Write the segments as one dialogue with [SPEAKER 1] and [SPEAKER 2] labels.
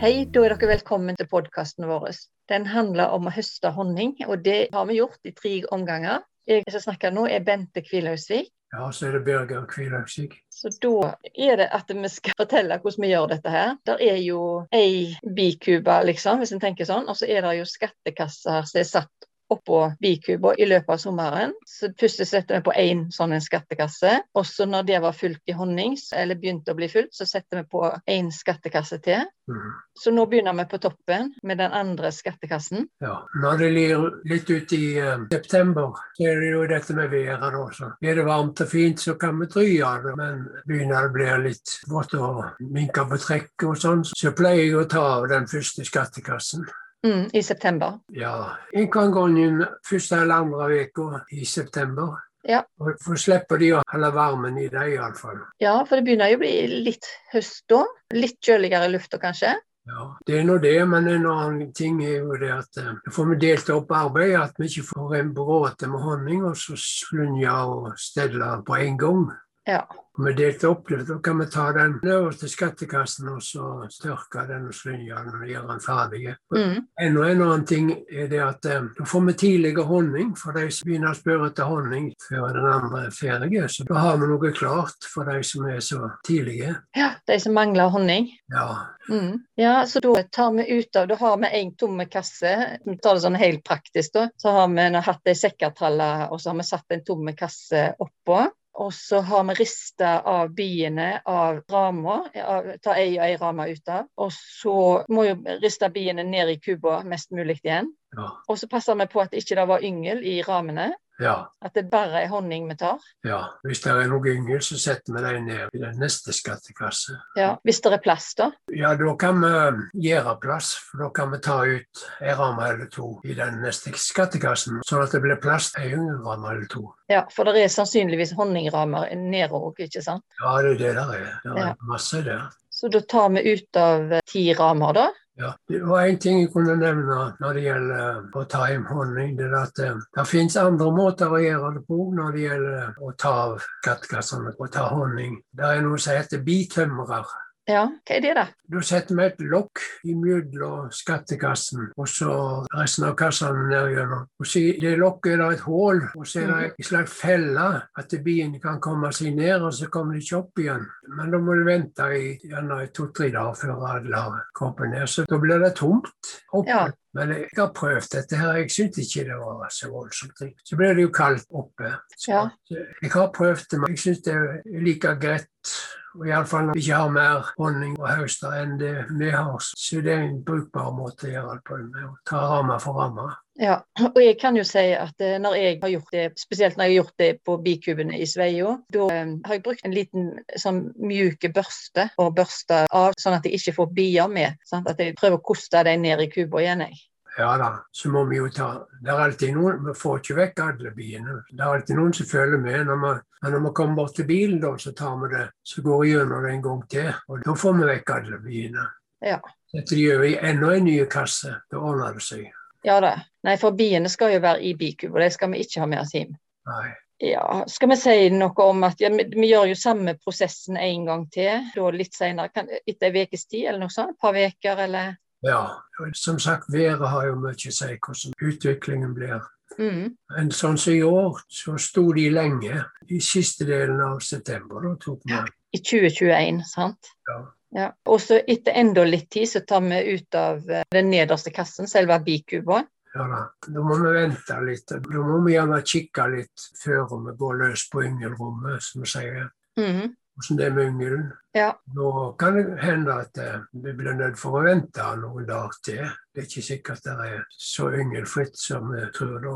[SPEAKER 1] Hei, da er dere velkommen til podkasten vår. Den handler om å høste honning, og det har vi gjort i tre omganger. Jeg som snakker nå, er Bente Kvilhausvik.
[SPEAKER 2] Ja, så er det Birger Kvilhausvik.
[SPEAKER 1] Så da er det at vi skal fortelle hvordan vi gjør dette her. Der er jo ei bikube, liksom, hvis en tenker sånn. Og så er det jo skattekasser som er satt oppå bikuba i løpet av sommeren. Så Først setter vi på én sånn en skattekasse. Og så når det var fullt i honning, eller begynte å bli fullt, så setter vi på én skattekasse til.
[SPEAKER 2] Mhm.
[SPEAKER 1] Så nå begynner vi på toppen med den andre skattekassen.
[SPEAKER 2] Ja. Når det lir litt ut i eh, september, så er det jo dette med været da også. Er det varmt og fint, så kan vi dry av det, men begynner det å bli litt vått og minke på trekk og sånn, så pleier jeg å ta av den første skattekassen.
[SPEAKER 1] Mm, I september.
[SPEAKER 2] Ja, en kan gå inn første eller andre uka i september.
[SPEAKER 1] Ja.
[SPEAKER 2] Og for slipper de å holde varmen i deg iallfall.
[SPEAKER 1] Ja, for det begynner jo å bli litt høst da. Litt kjøligere i lufta kanskje.
[SPEAKER 2] Ja, det er nå det, men en annen ting er jo det at eh, da får vi delt opp arbeidet, at vi ikke får en bråte med honning og så slunja og stelle på en gang.
[SPEAKER 1] Ja.
[SPEAKER 2] Vi delte opp det, da kan vi ta den øverste skattekassen og så tørke den og slunja den og gjøre den ferdig.
[SPEAKER 1] Mm.
[SPEAKER 2] Enda en annen ting er det at eh, da får vi tidligere honning for de som begynner å spørre etter honning før den andre er ferdig. Så da har vi noe klart for de som er så tidlige.
[SPEAKER 1] ja. De som mangler honning.
[SPEAKER 2] Ja,
[SPEAKER 1] Mm. Ja, så da tar vi ut av Da har vi en tomme kasse. Vi tar det sånn helt praktisk, da. Så har vi nå hatt ei sekkatralle, og så har vi satt en tomme kasse oppå. Og så har vi rista av biene av rama. Av, ta ei og ei rame ut av. Og så må jo riste biene ned i kuba mest mulig igjen.
[SPEAKER 2] ja,
[SPEAKER 1] Og så passer vi på at ikke det ikke var yngel i ramene.
[SPEAKER 2] ja.
[SPEAKER 1] At det bare er honning vi tar.
[SPEAKER 2] Ja, hvis det er noe yngre, så setter vi dem ned i den neste skattekasse.
[SPEAKER 1] Ja, Hvis det er plass, da.
[SPEAKER 2] Ja, da kan vi um, gjøre plass, for da kan vi ta ut ei ramme eller to i den neste skattekassen, sånn at det blir plass til ei ramme eller to.
[SPEAKER 1] Ja, For det er sannsynligvis honningramer nede òg, ikke sant.
[SPEAKER 2] Ja, det er det der er. Det er
[SPEAKER 1] Ja.
[SPEAKER 2] masse der.
[SPEAKER 1] Så da tar vi ut av eh, ti ramer, da.
[SPEAKER 2] Ja. Det var en ting jeg kunne nevne når det gjelder um, å ta hjem honning. Det er at eh, det finnes andre måter å gjøre det på når det gjelder um, å ta av skattekassene og ta honning. Det er noe som heter bitømrer.
[SPEAKER 1] Ja, hva er det, da?
[SPEAKER 2] Da setter vi et lokk imellom skattekassen og så resten av kassene nedgjennom. Og så I det lokket er det et hull, og så er det en slags felle at biene kan komme seg ned, og så kommer de ikke opp igjen. Men da må du vente i gjerne i to-tre dager før alle har kommet ned, så da blir det tomt. oppe.
[SPEAKER 1] Ja.
[SPEAKER 2] Men jeg har prøvd dette her, jeg syntes ikke det var så voldsomt. Så blir det jo kaldt oppe. Så
[SPEAKER 1] Ja.
[SPEAKER 2] Jeg har prøvd det, men jeg syns det er like greit. Og iallfall når vi ikke har mer honning og høster enn det vi har. Så det er en brukbar måte å gjøre det på, med å ta ramme for ramme.
[SPEAKER 1] Ja, og jeg kan jo si at eh, når jeg har gjort det, spesielt når jeg har gjort det på bikubene i Sveio, da eh, har jeg brukt en liten sånn mjuke børste og børsta av, sånn at jeg ikke får bier med. Sant? At jeg prøver å koste dem ned i kuba igjen, jeg.
[SPEAKER 2] Ja da, så må vi jo ta Det er alltid noen Vi får ikke vekk alle biene. Det er alltid noen som følger med. Når vi, men når vi kommer bort til bilen, da, så tar vi det. Så går vi gjennom det en gang til, og da får vi vekk alle biene.
[SPEAKER 1] Ja.
[SPEAKER 2] Dette gjør vi i enda en ny kasse. Da ordner det seg.
[SPEAKER 1] Ja da. Nei, for biene skal jo være i bikuba, de skal vi ikke ha med oss hjem.
[SPEAKER 2] Nei.
[SPEAKER 1] Ja, skal vi si noe om at ja, vi, vi gjør jo samme prosessen en gang til, da litt senere, kan, etter ei ukes tid eller noe sånt? Et par uker eller
[SPEAKER 2] Ja. og Som sagt, været har jo mye å si hvordan utviklingen blir.
[SPEAKER 1] mm.
[SPEAKER 2] Men sånn som i år, så sto de lenge. I siste delen av september da tok vi
[SPEAKER 1] Ja. i 2021, sant?
[SPEAKER 2] Ja.
[SPEAKER 1] Ja. Og så etter enda litt tid så tar vi ut av eh, den nederste kassen, selve bikuba.
[SPEAKER 2] ja, da. da må vi vente litt. Da må vi gjerne kikke litt før vi går løs på yngelrommet, som vi sier.
[SPEAKER 1] Mhm.
[SPEAKER 2] Hvordan det er med yngelen.
[SPEAKER 1] Ja.
[SPEAKER 2] Nå kan det hende at eh, vi blir nødt for å vente noen dager til. Det er ikke sikkert det er så yngelfritt som vi tror da.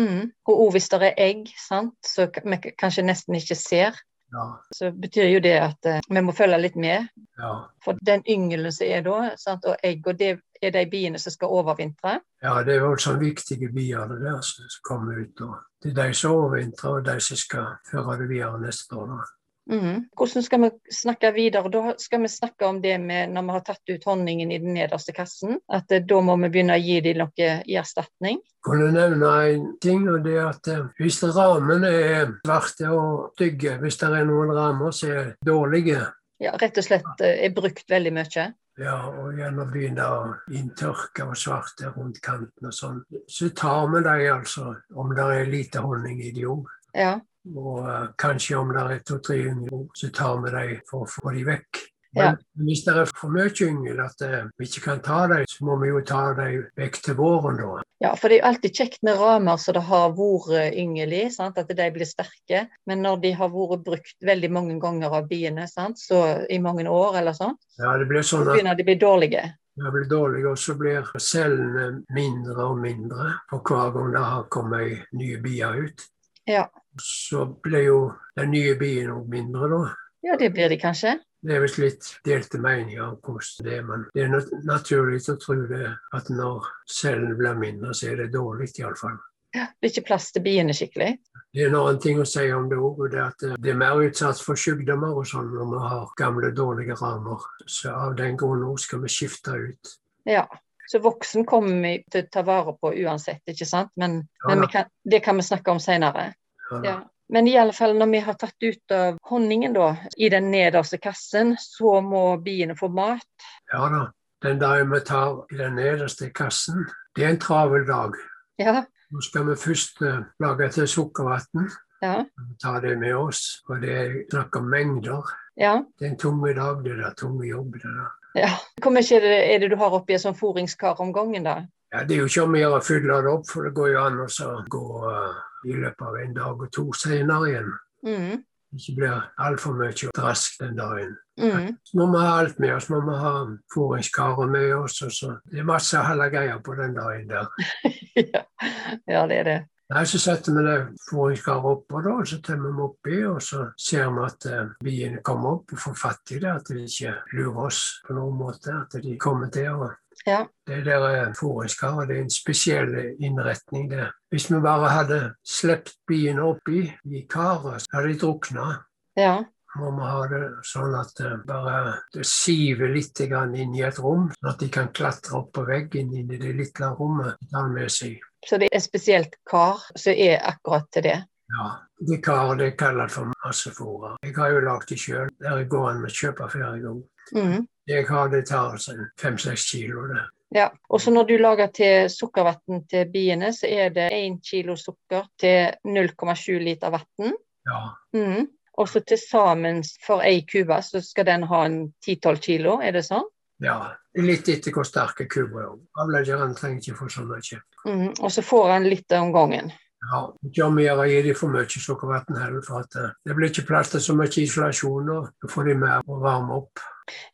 [SPEAKER 1] Mhm. Og òg hvis det er egg, sant, så k- vi k- kanskje nesten ikke ser,
[SPEAKER 2] Ja,
[SPEAKER 1] så betyr jo det at eh, vi må følge litt med.
[SPEAKER 2] ja.
[SPEAKER 1] For den yngelen som er da, sant, og egg, og det er de biene som skal overvintre.
[SPEAKER 2] ja det er jo sånne viktige bier det der som som kommer ut. da. Det er de som overvintrer, og de som skal føre det videre neste år. da.
[SPEAKER 1] Mhm. Hvordan skal vi snakke videre? Da skal vi snakke om det med når vi har tatt ut honningen i den nederste kassen, at eh, da må vi begynne å gi dem noe i erstatning.
[SPEAKER 2] kunne nevne en ting, og det er at eh, hvis rammene er svarte og stygge, hvis det er noen rammer som er dårlige,
[SPEAKER 1] Ja, rett og slett eh, er brukt veldig mye.
[SPEAKER 2] Ja, og gjerne begynner å inntørke og svarte rundt kanten og sånn. Så tar vi dem altså, om det er lite honning i de òg.
[SPEAKER 1] Ja.
[SPEAKER 2] Og eh, kanskje om det er to-tre yngel òg, så tar vi dem for å få dem vekk.
[SPEAKER 1] Ja.
[SPEAKER 2] Men hvis det er for mye yngel at eh, vi ikke kan ta dem, så må vi jo ta dem vekk til våren da.
[SPEAKER 1] Ja, for det er jo alltid kjekt med ramer som det har vært eh, yngel i, sant? at de blir sterke. Men når de har vært brukt veldig mange ganger av biene, sant? så i mange år eller sånn,
[SPEAKER 2] Ja, det blir
[SPEAKER 1] så
[SPEAKER 2] sånn at
[SPEAKER 1] begynner de å bli dårlige.
[SPEAKER 2] Det blir dårlig, og så blir cellene mindre og mindre for hver gang det har kommet nye bier ut.
[SPEAKER 1] Ja.
[SPEAKER 2] Så blir jo den nye bien òg mindre, da.
[SPEAKER 1] Ja, det blir de kanskje.
[SPEAKER 2] Det er visst litt delte meninger om hvordan det er, men det er nat- naturlig å tro det at når cellene blir mindre, så er det dårlig, iallfall.
[SPEAKER 1] Det er ikke plass til biene skikkelig.
[SPEAKER 2] Det er en annen ting å si om det òg, og det er at eh, det er mer utsatt for sykdommer og sånn når vi har gamle, dårlige ramer. Så av den grunn òg skal vi skifte ut.
[SPEAKER 1] Ja. Så voksen kommer vi til å ta vare på uansett, ikke sant? Men,
[SPEAKER 2] Ja,
[SPEAKER 1] men
[SPEAKER 2] da.
[SPEAKER 1] vi kan, det kan vi snakke om senere.
[SPEAKER 2] Ja, da.
[SPEAKER 1] Ja. Men i alle fall når vi har tatt ut av honningen da, i den nederste kassen, så må biene få mat.
[SPEAKER 2] Ja da. Den dagen vi tar i den nederste kassen, det er en travel dag.
[SPEAKER 1] Ja,
[SPEAKER 2] Nå skal vi først eh, lage til sukkervann.
[SPEAKER 1] ja,
[SPEAKER 2] Vi tar det med oss. Og det er snakk om mengder.
[SPEAKER 1] ja.
[SPEAKER 2] Det er en tung dag, det der. Tung jobb, det der.
[SPEAKER 1] Ja. Hvor mye er det, er det du har oppi en sånn foringskar om gangen, da?
[SPEAKER 2] Ja, det er jo ikke om å gjøre å fylle det opp, for det går jo an å så gå eh, i løpet av en dag og to senere igjen.
[SPEAKER 1] Mm.
[SPEAKER 2] Ikke blir altfor mye drask den dagen.
[SPEAKER 1] Mm.
[SPEAKER 2] Så må vi ha alt med oss. Må vi ha foringskarer med oss. Og så. Det er masse halvgreier på den dagen der.
[SPEAKER 1] ja. ja, det er det.
[SPEAKER 2] Nei, Så setter vi det foringskaret oppå, da, og så temmer vi oppi, og så ser vi at eh, biene kommer opp og får fatt i det, at de ikke lurer oss på noen måte. At de kommer til å
[SPEAKER 1] Ja.
[SPEAKER 2] Det der eh, foringskaret det er en spesiell innretning, det. Hvis vi bare hadde sluppet biene oppi i karet, så hadde de drukna.
[SPEAKER 1] Ja.
[SPEAKER 2] Må vi ha det sånn at det bare det siver litt grann inn i et rom, sånn at de kan klatre opp på veggen inn i det lille rommet de tar med seg.
[SPEAKER 1] Så det er et spesielt kar som er akkurat til det.
[SPEAKER 2] Ja, det karet det kaller jeg for massefora. Jeg har jo lagd det sjøl. Der går an å kjøpe hver gang.
[SPEAKER 1] Mm.
[SPEAKER 2] Jeg har det tar altså en fem-seks kilo. det.
[SPEAKER 1] Ja. Og så når du lager til sukkervann til biene, så er det 1 kilo sukker til 0,7 liter vann.
[SPEAKER 2] Ja,
[SPEAKER 1] Mm. Og så til sammen for ei kube, så skal den ha en 10-12 kilo, er det sånn?
[SPEAKER 2] ja. Litt etter hvor sterke kuber er. Avleggeren trenger ikke få så mye.
[SPEAKER 1] Mm. Og så får han litt om gangen.
[SPEAKER 2] Ja, Ikke om å gjøre å gi dem for mye sukkervann heller, for at eh, det blir ikke plass til så mye isolasjon. og Da får de mer å varme opp.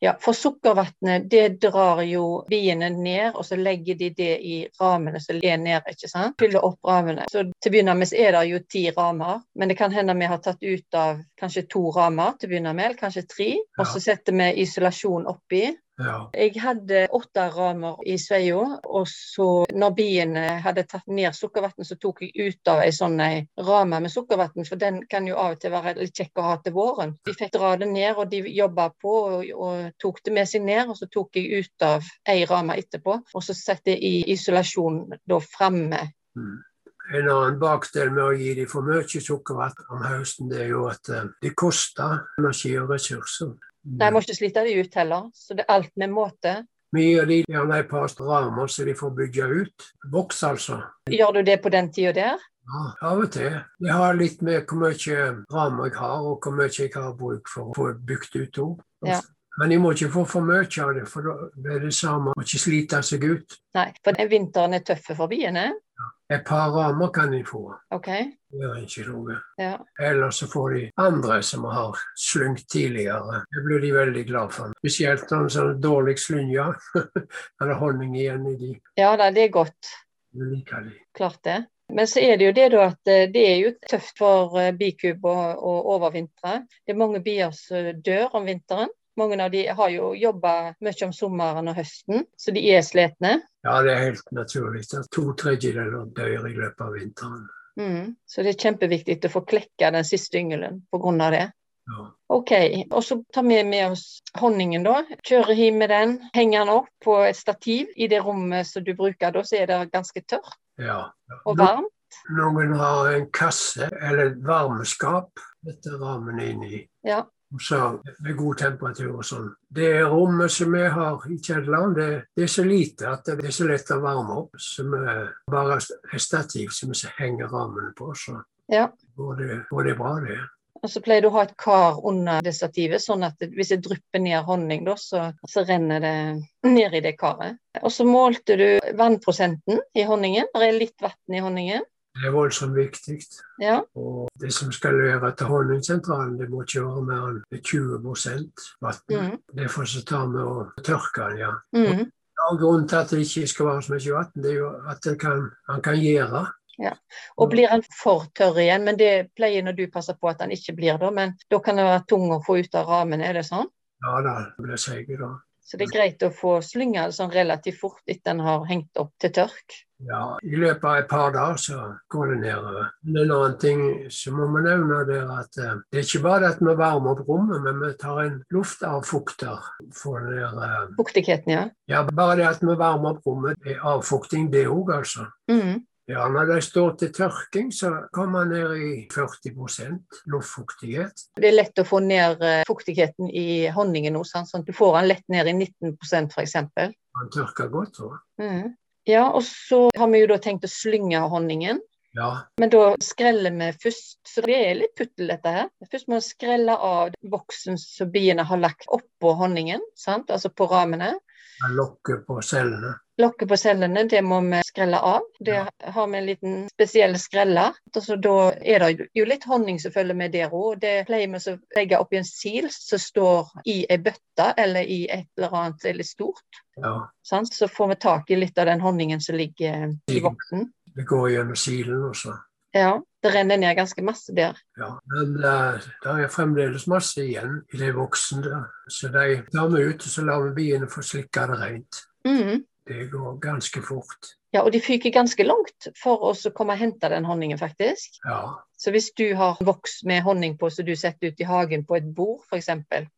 [SPEAKER 1] Ja, for sukkervannet det drar jo biene ned, og så legger de det i ramene som er ned, ikke sant? Fyller opp ramene. Så til å begynne med så er det jo ti ramer, men det kan hende vi har tatt ut av kanskje to ramer til å begynne med, eller kanskje tre, og så setter vi isolasjon oppi.
[SPEAKER 2] Ja,
[SPEAKER 1] Jeg hadde åtte ramer i sveia, og så når biene hadde tatt ned sukkervann, så tok jeg ut av ei sånn ei rame med sukkervann, for den kan jo av og til være litt kjekk å ha til våren. De fikk dra det ned, og de jobba på og, og tok det med seg ned. Og så tok jeg ut av ei rame etterpå, og så satte jeg i isolasjon da framme.
[SPEAKER 2] mm. En annen bakdel med å gi dem for mye sukkervann om høsten, det er jo at eh, det koster energi og ressurser.
[SPEAKER 1] Nei, jeg må ikke slite det ut heller, så det er alt med måte.
[SPEAKER 2] Vi gir de gjerne et par ramer så de får bygge ut. Voks, altså.
[SPEAKER 1] Gjør du det på den tida der?
[SPEAKER 2] Ja, av og til. Det har litt med hvor mye rammer jeg har, og hvor mye jeg har bruk for å få bygd ut òg.
[SPEAKER 1] Ja.
[SPEAKER 2] Men de må ikke få for mye av det, for da blir det samme å ikke slite seg ut.
[SPEAKER 1] Nei, for den vinteren er tøff for biene.
[SPEAKER 2] Et par ramer kan de få.
[SPEAKER 1] OK?
[SPEAKER 2] Det gjør ikke noe.
[SPEAKER 1] Ja.
[SPEAKER 2] Eller så får de andre som har slyngt tidligere. Det blir de veldig glad for. Spesielt noen sånne sånn dårlig slynja. Eller honning igjen i de.
[SPEAKER 1] ja da, det er godt.
[SPEAKER 2] De liker de.
[SPEAKER 1] Klart det. Men så er det jo det da at eh, det er jo tøft for eh, bikub å å overvintre. Det er mange bier som dør om vinteren. Mange av de har jo jobba mye om sommeren og høsten, så de er slitne.
[SPEAKER 2] Ja, det er helt naturlig. at To tredjedeler dør i løpet av vinteren.
[SPEAKER 1] Mm. Så det er kjempeviktig å få klekka den siste yngelen pga. det.
[SPEAKER 2] Ja.
[SPEAKER 1] OK. Og så tar vi med oss honningen, da. Kjører hjem med den. Henger den opp på et stativ. I det rommet som du bruker da, så er det ganske tørt
[SPEAKER 2] ja.
[SPEAKER 1] og varmt.
[SPEAKER 2] Noen har en kasse eller et varmeskap dette rammen inni.
[SPEAKER 1] Ja.
[SPEAKER 2] Og så med god temperatur og sånn. Det rommet som vi har i kjelleren, det, det er så lite at det er så lett å varme opp. Så vi bare har stativ som vi henger rammene på, så
[SPEAKER 1] Ja.
[SPEAKER 2] går det, går det bra, det.
[SPEAKER 1] Og så pleier du å ha et kar under det stativet, sånn at det- hvis det drypper ned honning, da, så, så renner det ned i det karet. Og så målte du vannprosenten i honningen. Det er litt vann i honningen.
[SPEAKER 2] Det er voldsomt viktig.
[SPEAKER 1] Ja.
[SPEAKER 2] Og det som skal være til honningsentralen, det må ikke være mer enn 20 vann.
[SPEAKER 1] Mm.
[SPEAKER 2] Derfor så tar vi og tørker den, ja.
[SPEAKER 1] Mm.
[SPEAKER 2] Og grunnen til at det ikke skal være så mye vann, det er jo at det kan, han kan gjøre.
[SPEAKER 1] Og blir den for tørr igjen, men det pleier når du passer på at den ikke blir da, men da kan den være tung å få ut av ramen, er det sånn?
[SPEAKER 2] Ja da, det blir seig da.
[SPEAKER 1] Så det er greit å få slynga det sånn relativt fort etter den har hengt opp til tørk.
[SPEAKER 2] Ja, I løpet av et par dager så går det nedover. Men En annen ting som må vi nevne, det er at eh, det er ikke bare det at vi varmer opp rommet, men vi tar en luftavfukter. For det er, eh,
[SPEAKER 1] Fuktigheten, ja.
[SPEAKER 2] ja, bare det at vi varmer opp rommet, det er avfukting det òg, altså.
[SPEAKER 1] Mm.
[SPEAKER 2] Ja, Når det står til tørking, så kommer man ned i 40 luftfuktighet.
[SPEAKER 1] Det er lett å få ned eh, fuktigheten i honningen nå, sant? sånn at du får den lett ned i 19 f.eks.
[SPEAKER 2] Man tørker godt. da.
[SPEAKER 1] Mm. Ja, og så har vi jo da tenkt å slynge honningen,
[SPEAKER 2] Ja,
[SPEAKER 1] men da skreller vi først. Så det er litt puttel, dette her. Først må vi skrelle av voksen som biene har lagt oppå honningen, sant? altså på ramene.
[SPEAKER 2] man lokker på cellene.
[SPEAKER 1] Lokket på cellene, det må vi skrelle av. Det
[SPEAKER 2] Ja.
[SPEAKER 1] har vi en liten spesiell skreller. Og så da er det jo litt honning som følger med der òg. Det pleier vi å legge oppi en sil som står i ei bøtte eller i et eller annet som er litt stort.
[SPEAKER 2] Ja.
[SPEAKER 1] Sant? Så får vi tak i litt av den honningen som ligger i vokten.
[SPEAKER 2] Det går gjennom silen også.
[SPEAKER 1] Ja, det renner ned ganske masse der.
[SPEAKER 2] Ja. Men uh, det er fremdeles masse igjen i de voksne. Så de tar vi ut, og så lar vi biene få slikke det rent.
[SPEAKER 1] Mhm.
[SPEAKER 2] Det går ganske fort.
[SPEAKER 1] Ja, og de fyker ganske langt for oss å komme og hente den honningen, faktisk.
[SPEAKER 2] Ja.
[SPEAKER 1] Så hvis du har voks med honning på som du setter ut i hagen på et bord f.eks.,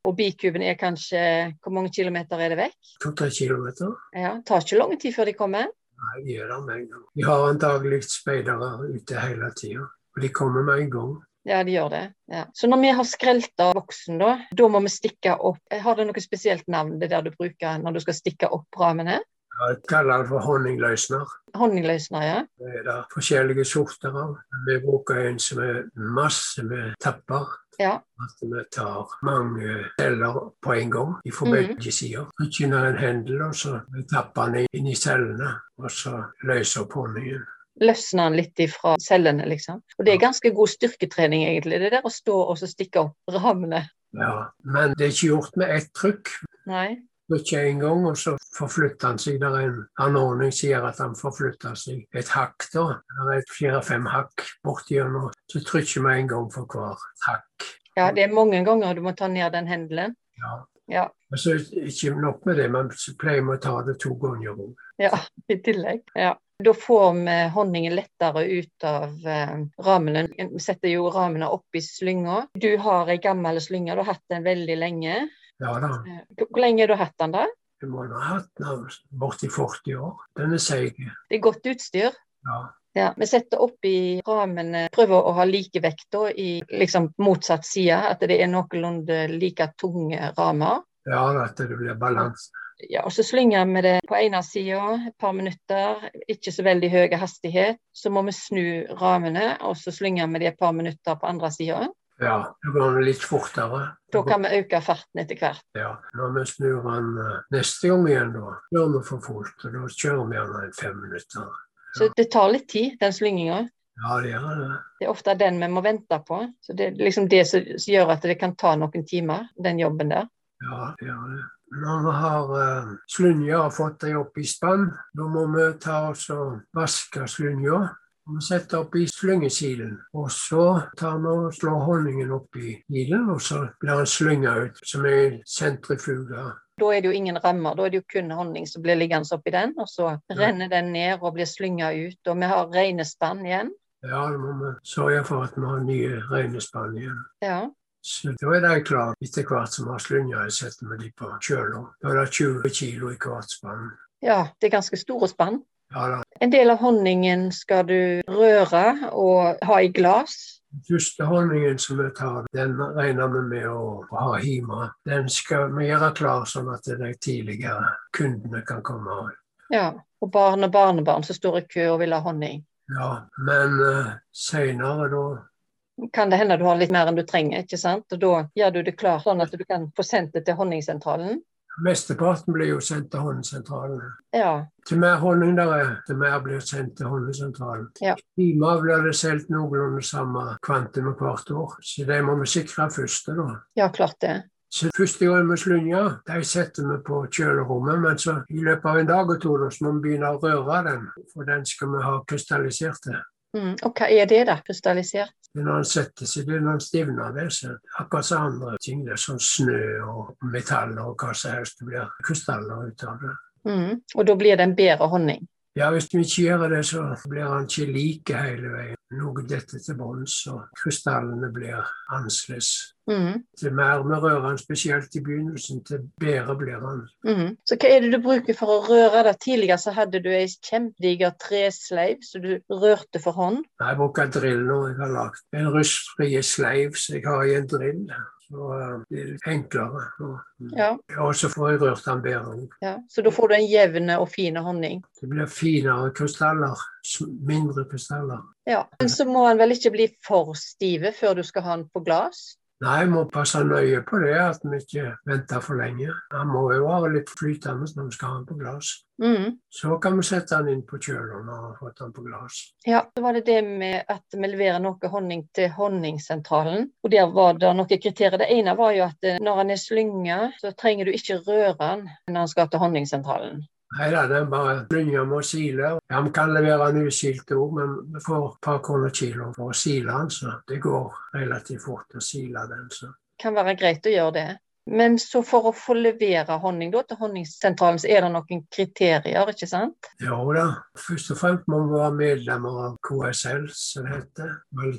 [SPEAKER 1] og bikuben er kanskje Hvor mange kilometer er det vekk?
[SPEAKER 2] To-tre kilometer.
[SPEAKER 1] Ja, det tar ikke lang tid før de kommer.
[SPEAKER 2] Nei, de gjør det med en gang. Vi har antagelig speidere ute hele tida. Og de kommer med en gang.
[SPEAKER 1] Ja, de gjør det. Ja. Så når vi har skrelt av voksen, da, da må vi stikke opp Har det noe spesielt navn, det der du bruker når du skal stikke opp ramene?
[SPEAKER 2] Jeg kaller det for honningløsner.
[SPEAKER 1] Honningløsner, ja.
[SPEAKER 2] Det er det forskjellige sorter av. Vi bruker en som er masse med tapper.
[SPEAKER 1] Ja.
[SPEAKER 2] At vi tar mange celler på en gang fra
[SPEAKER 1] Mhm.
[SPEAKER 2] begge sider. Ikke under en hendel, og så tapper den inn i cellene. Og så løser opp honningen.
[SPEAKER 1] Løsner den litt ifra cellene, liksom. Og det er ganske god styrketrening, egentlig, det der å stå og så stikke opp ramene.
[SPEAKER 2] Ja. Men det er ikke gjort med ett trykk.
[SPEAKER 1] Nei.
[SPEAKER 2] Ikke en gang, og så forflytter han seg. Det er en anordning som gjør at han forflytter seg et hakk. da. Det er et fire-fem hakk bortigjennom. Så trykker vi en gang for hver hakk.
[SPEAKER 1] Ja, det er mange ganger du må ta ned den hendelen.
[SPEAKER 2] Ja.
[SPEAKER 1] Ja.
[SPEAKER 2] Og så ikke nok med det, men så pleier vi å ta det to ganger òg.
[SPEAKER 1] Ja, i tillegg. Ja. Da får vi honningen lettere ut av eh, ramene. Vi setter jo ramene opp i slynga. Du har ei gammel slynge, du har hatt den veldig lenge.
[SPEAKER 2] Ja da.
[SPEAKER 1] Eh, Hvor hvor lenge har du hatt den, da?
[SPEAKER 2] Du må ha hatt den borti 40 år. Den er seig.
[SPEAKER 1] Det er godt utstyr.
[SPEAKER 2] Ja.
[SPEAKER 1] Ja, Vi setter opp i ramene, prøver å ha like vekt da, i liksom motsatt side, at det er noenlunde like tunge ramer.
[SPEAKER 2] ja, at det blir balanse.
[SPEAKER 1] Ja, og Så slynger vi det på ene sida et par minutter, ikke så veldig høy hastighet. Så må vi snu ramene, og så slynger vi det et par minutter på andre sida.
[SPEAKER 2] Ja, da går den litt fortere.
[SPEAKER 1] Da kan vi øke farten etter hvert.
[SPEAKER 2] Ja, Når vi snur den eh, neste gang igjen, da gjør vi for fullt. og Da kjører vi gjerne i fem minutter.
[SPEAKER 1] Så det tar litt tid, den slynginga.
[SPEAKER 2] Ja, det gjør det.
[SPEAKER 1] Det er ofte den vi må vente på. Så Det er liksom det som som gjør at det kan ta noen timer, den jobben der.
[SPEAKER 2] Ja, det gjør det. Når vi har eh, slynja og fått dem opp i spann, da må vi ta oss og vaske slynja. Og Vi setter opp i slyngesilen, og så tar vi og slår honningen opp i ilen, og så blir den slynga ut som en sentrifuga.
[SPEAKER 1] Da er det jo ingen rammer, da er det jo kun honning som blir liggende oppi den. Og så renner den ned og blir slynga ut. Og vi har rene spann igjen.
[SPEAKER 2] Ja, da må vi sørge for at vi har nye regnespann igjen.
[SPEAKER 1] Ja.
[SPEAKER 2] Så da er de klare etter hvert som vi har slynja, jeg setter vi de på kjøla. Da er det 20 kilo i hvert spann.
[SPEAKER 1] ja, det er ganske store spann.
[SPEAKER 2] Ja da.
[SPEAKER 1] En del av honningen skal du røre og ha i glass.
[SPEAKER 2] Den første honningen som jeg tar, den regner vi med å ha hjemme. Den skal vi gjøre klar, sånn at de tidligere kundene kan komme.
[SPEAKER 1] Ja, Og barn og barnebarn som står i kø og vil ha honning.
[SPEAKER 2] Ja, Men uh, seinere, da
[SPEAKER 1] Kan det hende du har litt mer enn du trenger, ikke sant? Og da gjør du det klart sånn at du kan få sendt det til honningsentralen.
[SPEAKER 2] Mesteparten blir jo sendt til honningsentralen.
[SPEAKER 1] Ja,
[SPEAKER 2] Til mer honning der er, til mer blir sendt til honningsentralen.
[SPEAKER 1] Ja.
[SPEAKER 2] Hjemme blir det solgt noenlunde samme kvantum hvert år, så det må vi sikre først. da.
[SPEAKER 1] ja klart det.
[SPEAKER 2] Så første gang vi slunger, de setter vi på kjølerommet, men så i løpet av en dag og to da, så må vi begynne å røre den, for den skal vi ha krystallisert. til.
[SPEAKER 1] Mm. Og hva er det, da? Krystallisert?
[SPEAKER 2] Men Når den setter seg, det er når den stivner det, så akkurat som andre ting, det er sånn snø og metall og hva som helst, det blir krystaller ut av det.
[SPEAKER 1] Mm. Og da blir det en bedre honning.
[SPEAKER 2] Ja, hvis vi ikke gjør det, så blir han ikke like hele veien. Noe detter til bunns, og krystallene blir annerledes.
[SPEAKER 1] Mm.
[SPEAKER 2] Til mer vi rører han spesielt i begynnelsen, til bedre blir han.
[SPEAKER 1] Mm. Så hva er det du bruker for å røre det? Tidligere så hadde du ei kjempediger tresleiv som du rørte for hånd.
[SPEAKER 2] Jeg bruker drill nå. Jeg har lagd en rustfri sleiv som jeg har i en drill. Så eh, det er litt enklere. Og- mm.
[SPEAKER 1] Ja.
[SPEAKER 2] Og så får jeg rørt den bedre.
[SPEAKER 1] ja. Så da får du en jevn og fin honning.
[SPEAKER 2] Det blir finere krystaller. sm- Mindre krystaller.
[SPEAKER 1] Ja. Men så må den vel ikke bli for stive før du skal ha den på glass?
[SPEAKER 2] Nei, jeg må passe nøye på det, at vi ikke venter for lenge. Han må jo være litt flytende når vi skal ha den på glass.
[SPEAKER 1] Mm.
[SPEAKER 2] Så kan vi sette den inn på kjølen når vi har fått den på glass.
[SPEAKER 1] Ja, så var det det med at vi leverer noe honning til honningsentralen. Og der var det noen kriterier. Det ene var jo at eh, når han er slynga, så trenger du ikke røre han når han skal til honningsentralen.
[SPEAKER 2] Nei da, den bare lynger med å sile. Ja, vi kan levere den usilt òg, men vi får et par kroner kilo for å sile den, så det går relativt fort å sile den. Så.
[SPEAKER 1] Kan være greit å gjøre det. Men så for å få levere honning da, til honningsentralen, så er det noen kriterier, ikke sant?
[SPEAKER 2] Jo da, først og fremst må vi være medlemmer av KSL, som det heter.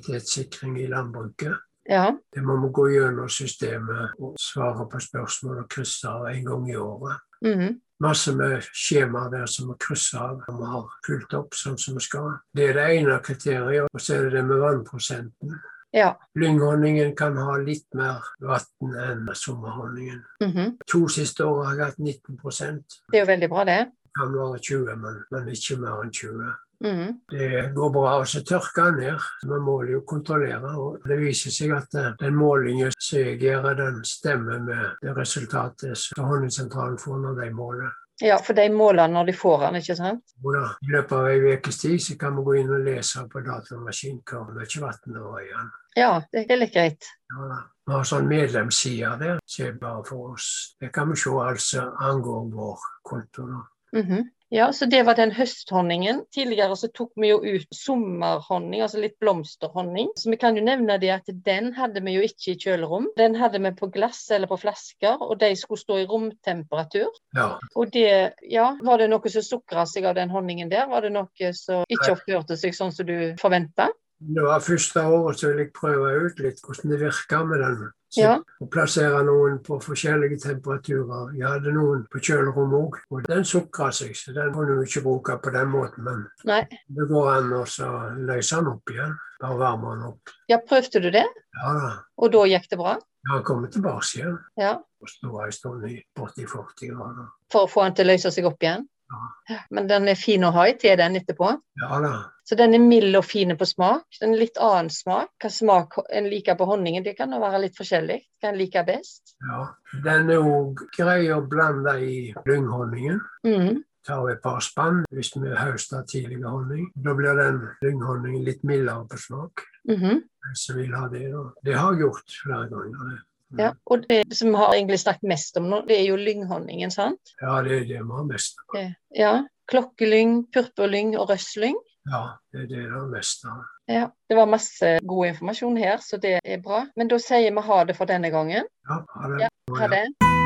[SPEAKER 2] Kvalitetssikring i landbruket.
[SPEAKER 1] Ja.
[SPEAKER 2] Det må vi gå gjennom systemet og svare på spørsmål og krysse av en gang i året.
[SPEAKER 1] mhm.
[SPEAKER 2] masse med skjemaer der som må krysse av om vi har fulgt opp sånn som vi skal. Det er det ene kriteriet, og så er det det med vannprosenten.
[SPEAKER 1] Ja.
[SPEAKER 2] Lynghonningen kan ha litt mer vann enn sommerhonningen.
[SPEAKER 1] mhm.
[SPEAKER 2] To siste år har jeg hatt 19
[SPEAKER 1] Det er jo veldig bra, det.
[SPEAKER 2] kan være 20 men, men ikke mer enn 20
[SPEAKER 1] Mhm.
[SPEAKER 2] Det går bra å så tørke den ned. Vi måler jo kontrollere, og det viser seg at eh, den målingen som jeg gjør, den stemmer med det resultatet som honningsentralen får når de måler.
[SPEAKER 1] Ja, for de måler han når de får han, ikke sant?
[SPEAKER 2] Jo da, I løpet av ei ukes tid så kan vi gå inn og lese på datamaskin hvor mye vann det var i den.
[SPEAKER 1] Ja, det er litt greit.
[SPEAKER 2] Ja da. Vi har sånn medlemsside der, som er bare for oss. Det kan vi se alt som angår vår konto. da.
[SPEAKER 1] Mhm. Ja, så det var den høsthonningen. Tidligere så tok vi jo ut sommerhonning, altså litt blomsterhonning. Så vi kan jo nevne det at den hadde vi jo ikke i kjølerom. Den hadde vi på glass eller på flasker, og de skulle stå i romtemperatur.
[SPEAKER 2] Ja.
[SPEAKER 1] Og det, ja, var det noe som sukra seg av den honningen der? Var det noe som ikke oppførte seg sånn som du forventa?
[SPEAKER 2] Det var første året så vil jeg prøve ut litt hvordan det virker med den. Så
[SPEAKER 1] Ja.
[SPEAKER 2] Å plassere noen på forskjellige temperaturer. Jeg hadde noen på kjølerommet òg, og den sukra seg, så den kunne du ikke bruke på den måten. Men
[SPEAKER 1] Nei.
[SPEAKER 2] det går an å så løse den opp igjen. Bare varme den opp.
[SPEAKER 1] Ja, prøvde du det?
[SPEAKER 2] Ja da.
[SPEAKER 1] Og da gikk det bra?
[SPEAKER 2] Han kommer tilbake igjen
[SPEAKER 1] Ja.
[SPEAKER 2] og står en stund i borti 40 grader.
[SPEAKER 1] For å få den til å løse seg opp igjen? Ja, Men den er fin å ha i til den etterpå?
[SPEAKER 2] Ja da.
[SPEAKER 1] Så den er mild og fin på smak. Den er litt annen smak. Hva smak en liker på honningen, det kan jo være litt forskjellig. Hva en liker best.
[SPEAKER 2] Ja. Den er òg grei å blande i lynghonningen.
[SPEAKER 1] Mhm.
[SPEAKER 2] Tar vi et par spann hvis vi høster tidlig honning. Da blir den lynghonningen litt mildere på smak.
[SPEAKER 1] Mhm.
[SPEAKER 2] De som vil ha det, da. Det har jeg gjort flere ganger. det.
[SPEAKER 1] Ja, og det som vi har egentlig snakket mest om nå, det er jo lynghonningen, sant?
[SPEAKER 2] Ja, det er det vi har mest av.
[SPEAKER 1] Det- Ja. Klokkelyng, purpurlyng og røsslyng.
[SPEAKER 2] Ja, det er det vi har mest av.
[SPEAKER 1] Ja, det var masse god informasjon her, så det er bra. Men da sier vi ha det for denne gangen.
[SPEAKER 2] Ja, ha
[SPEAKER 1] Ja,
[SPEAKER 2] det.
[SPEAKER 1] Ha det.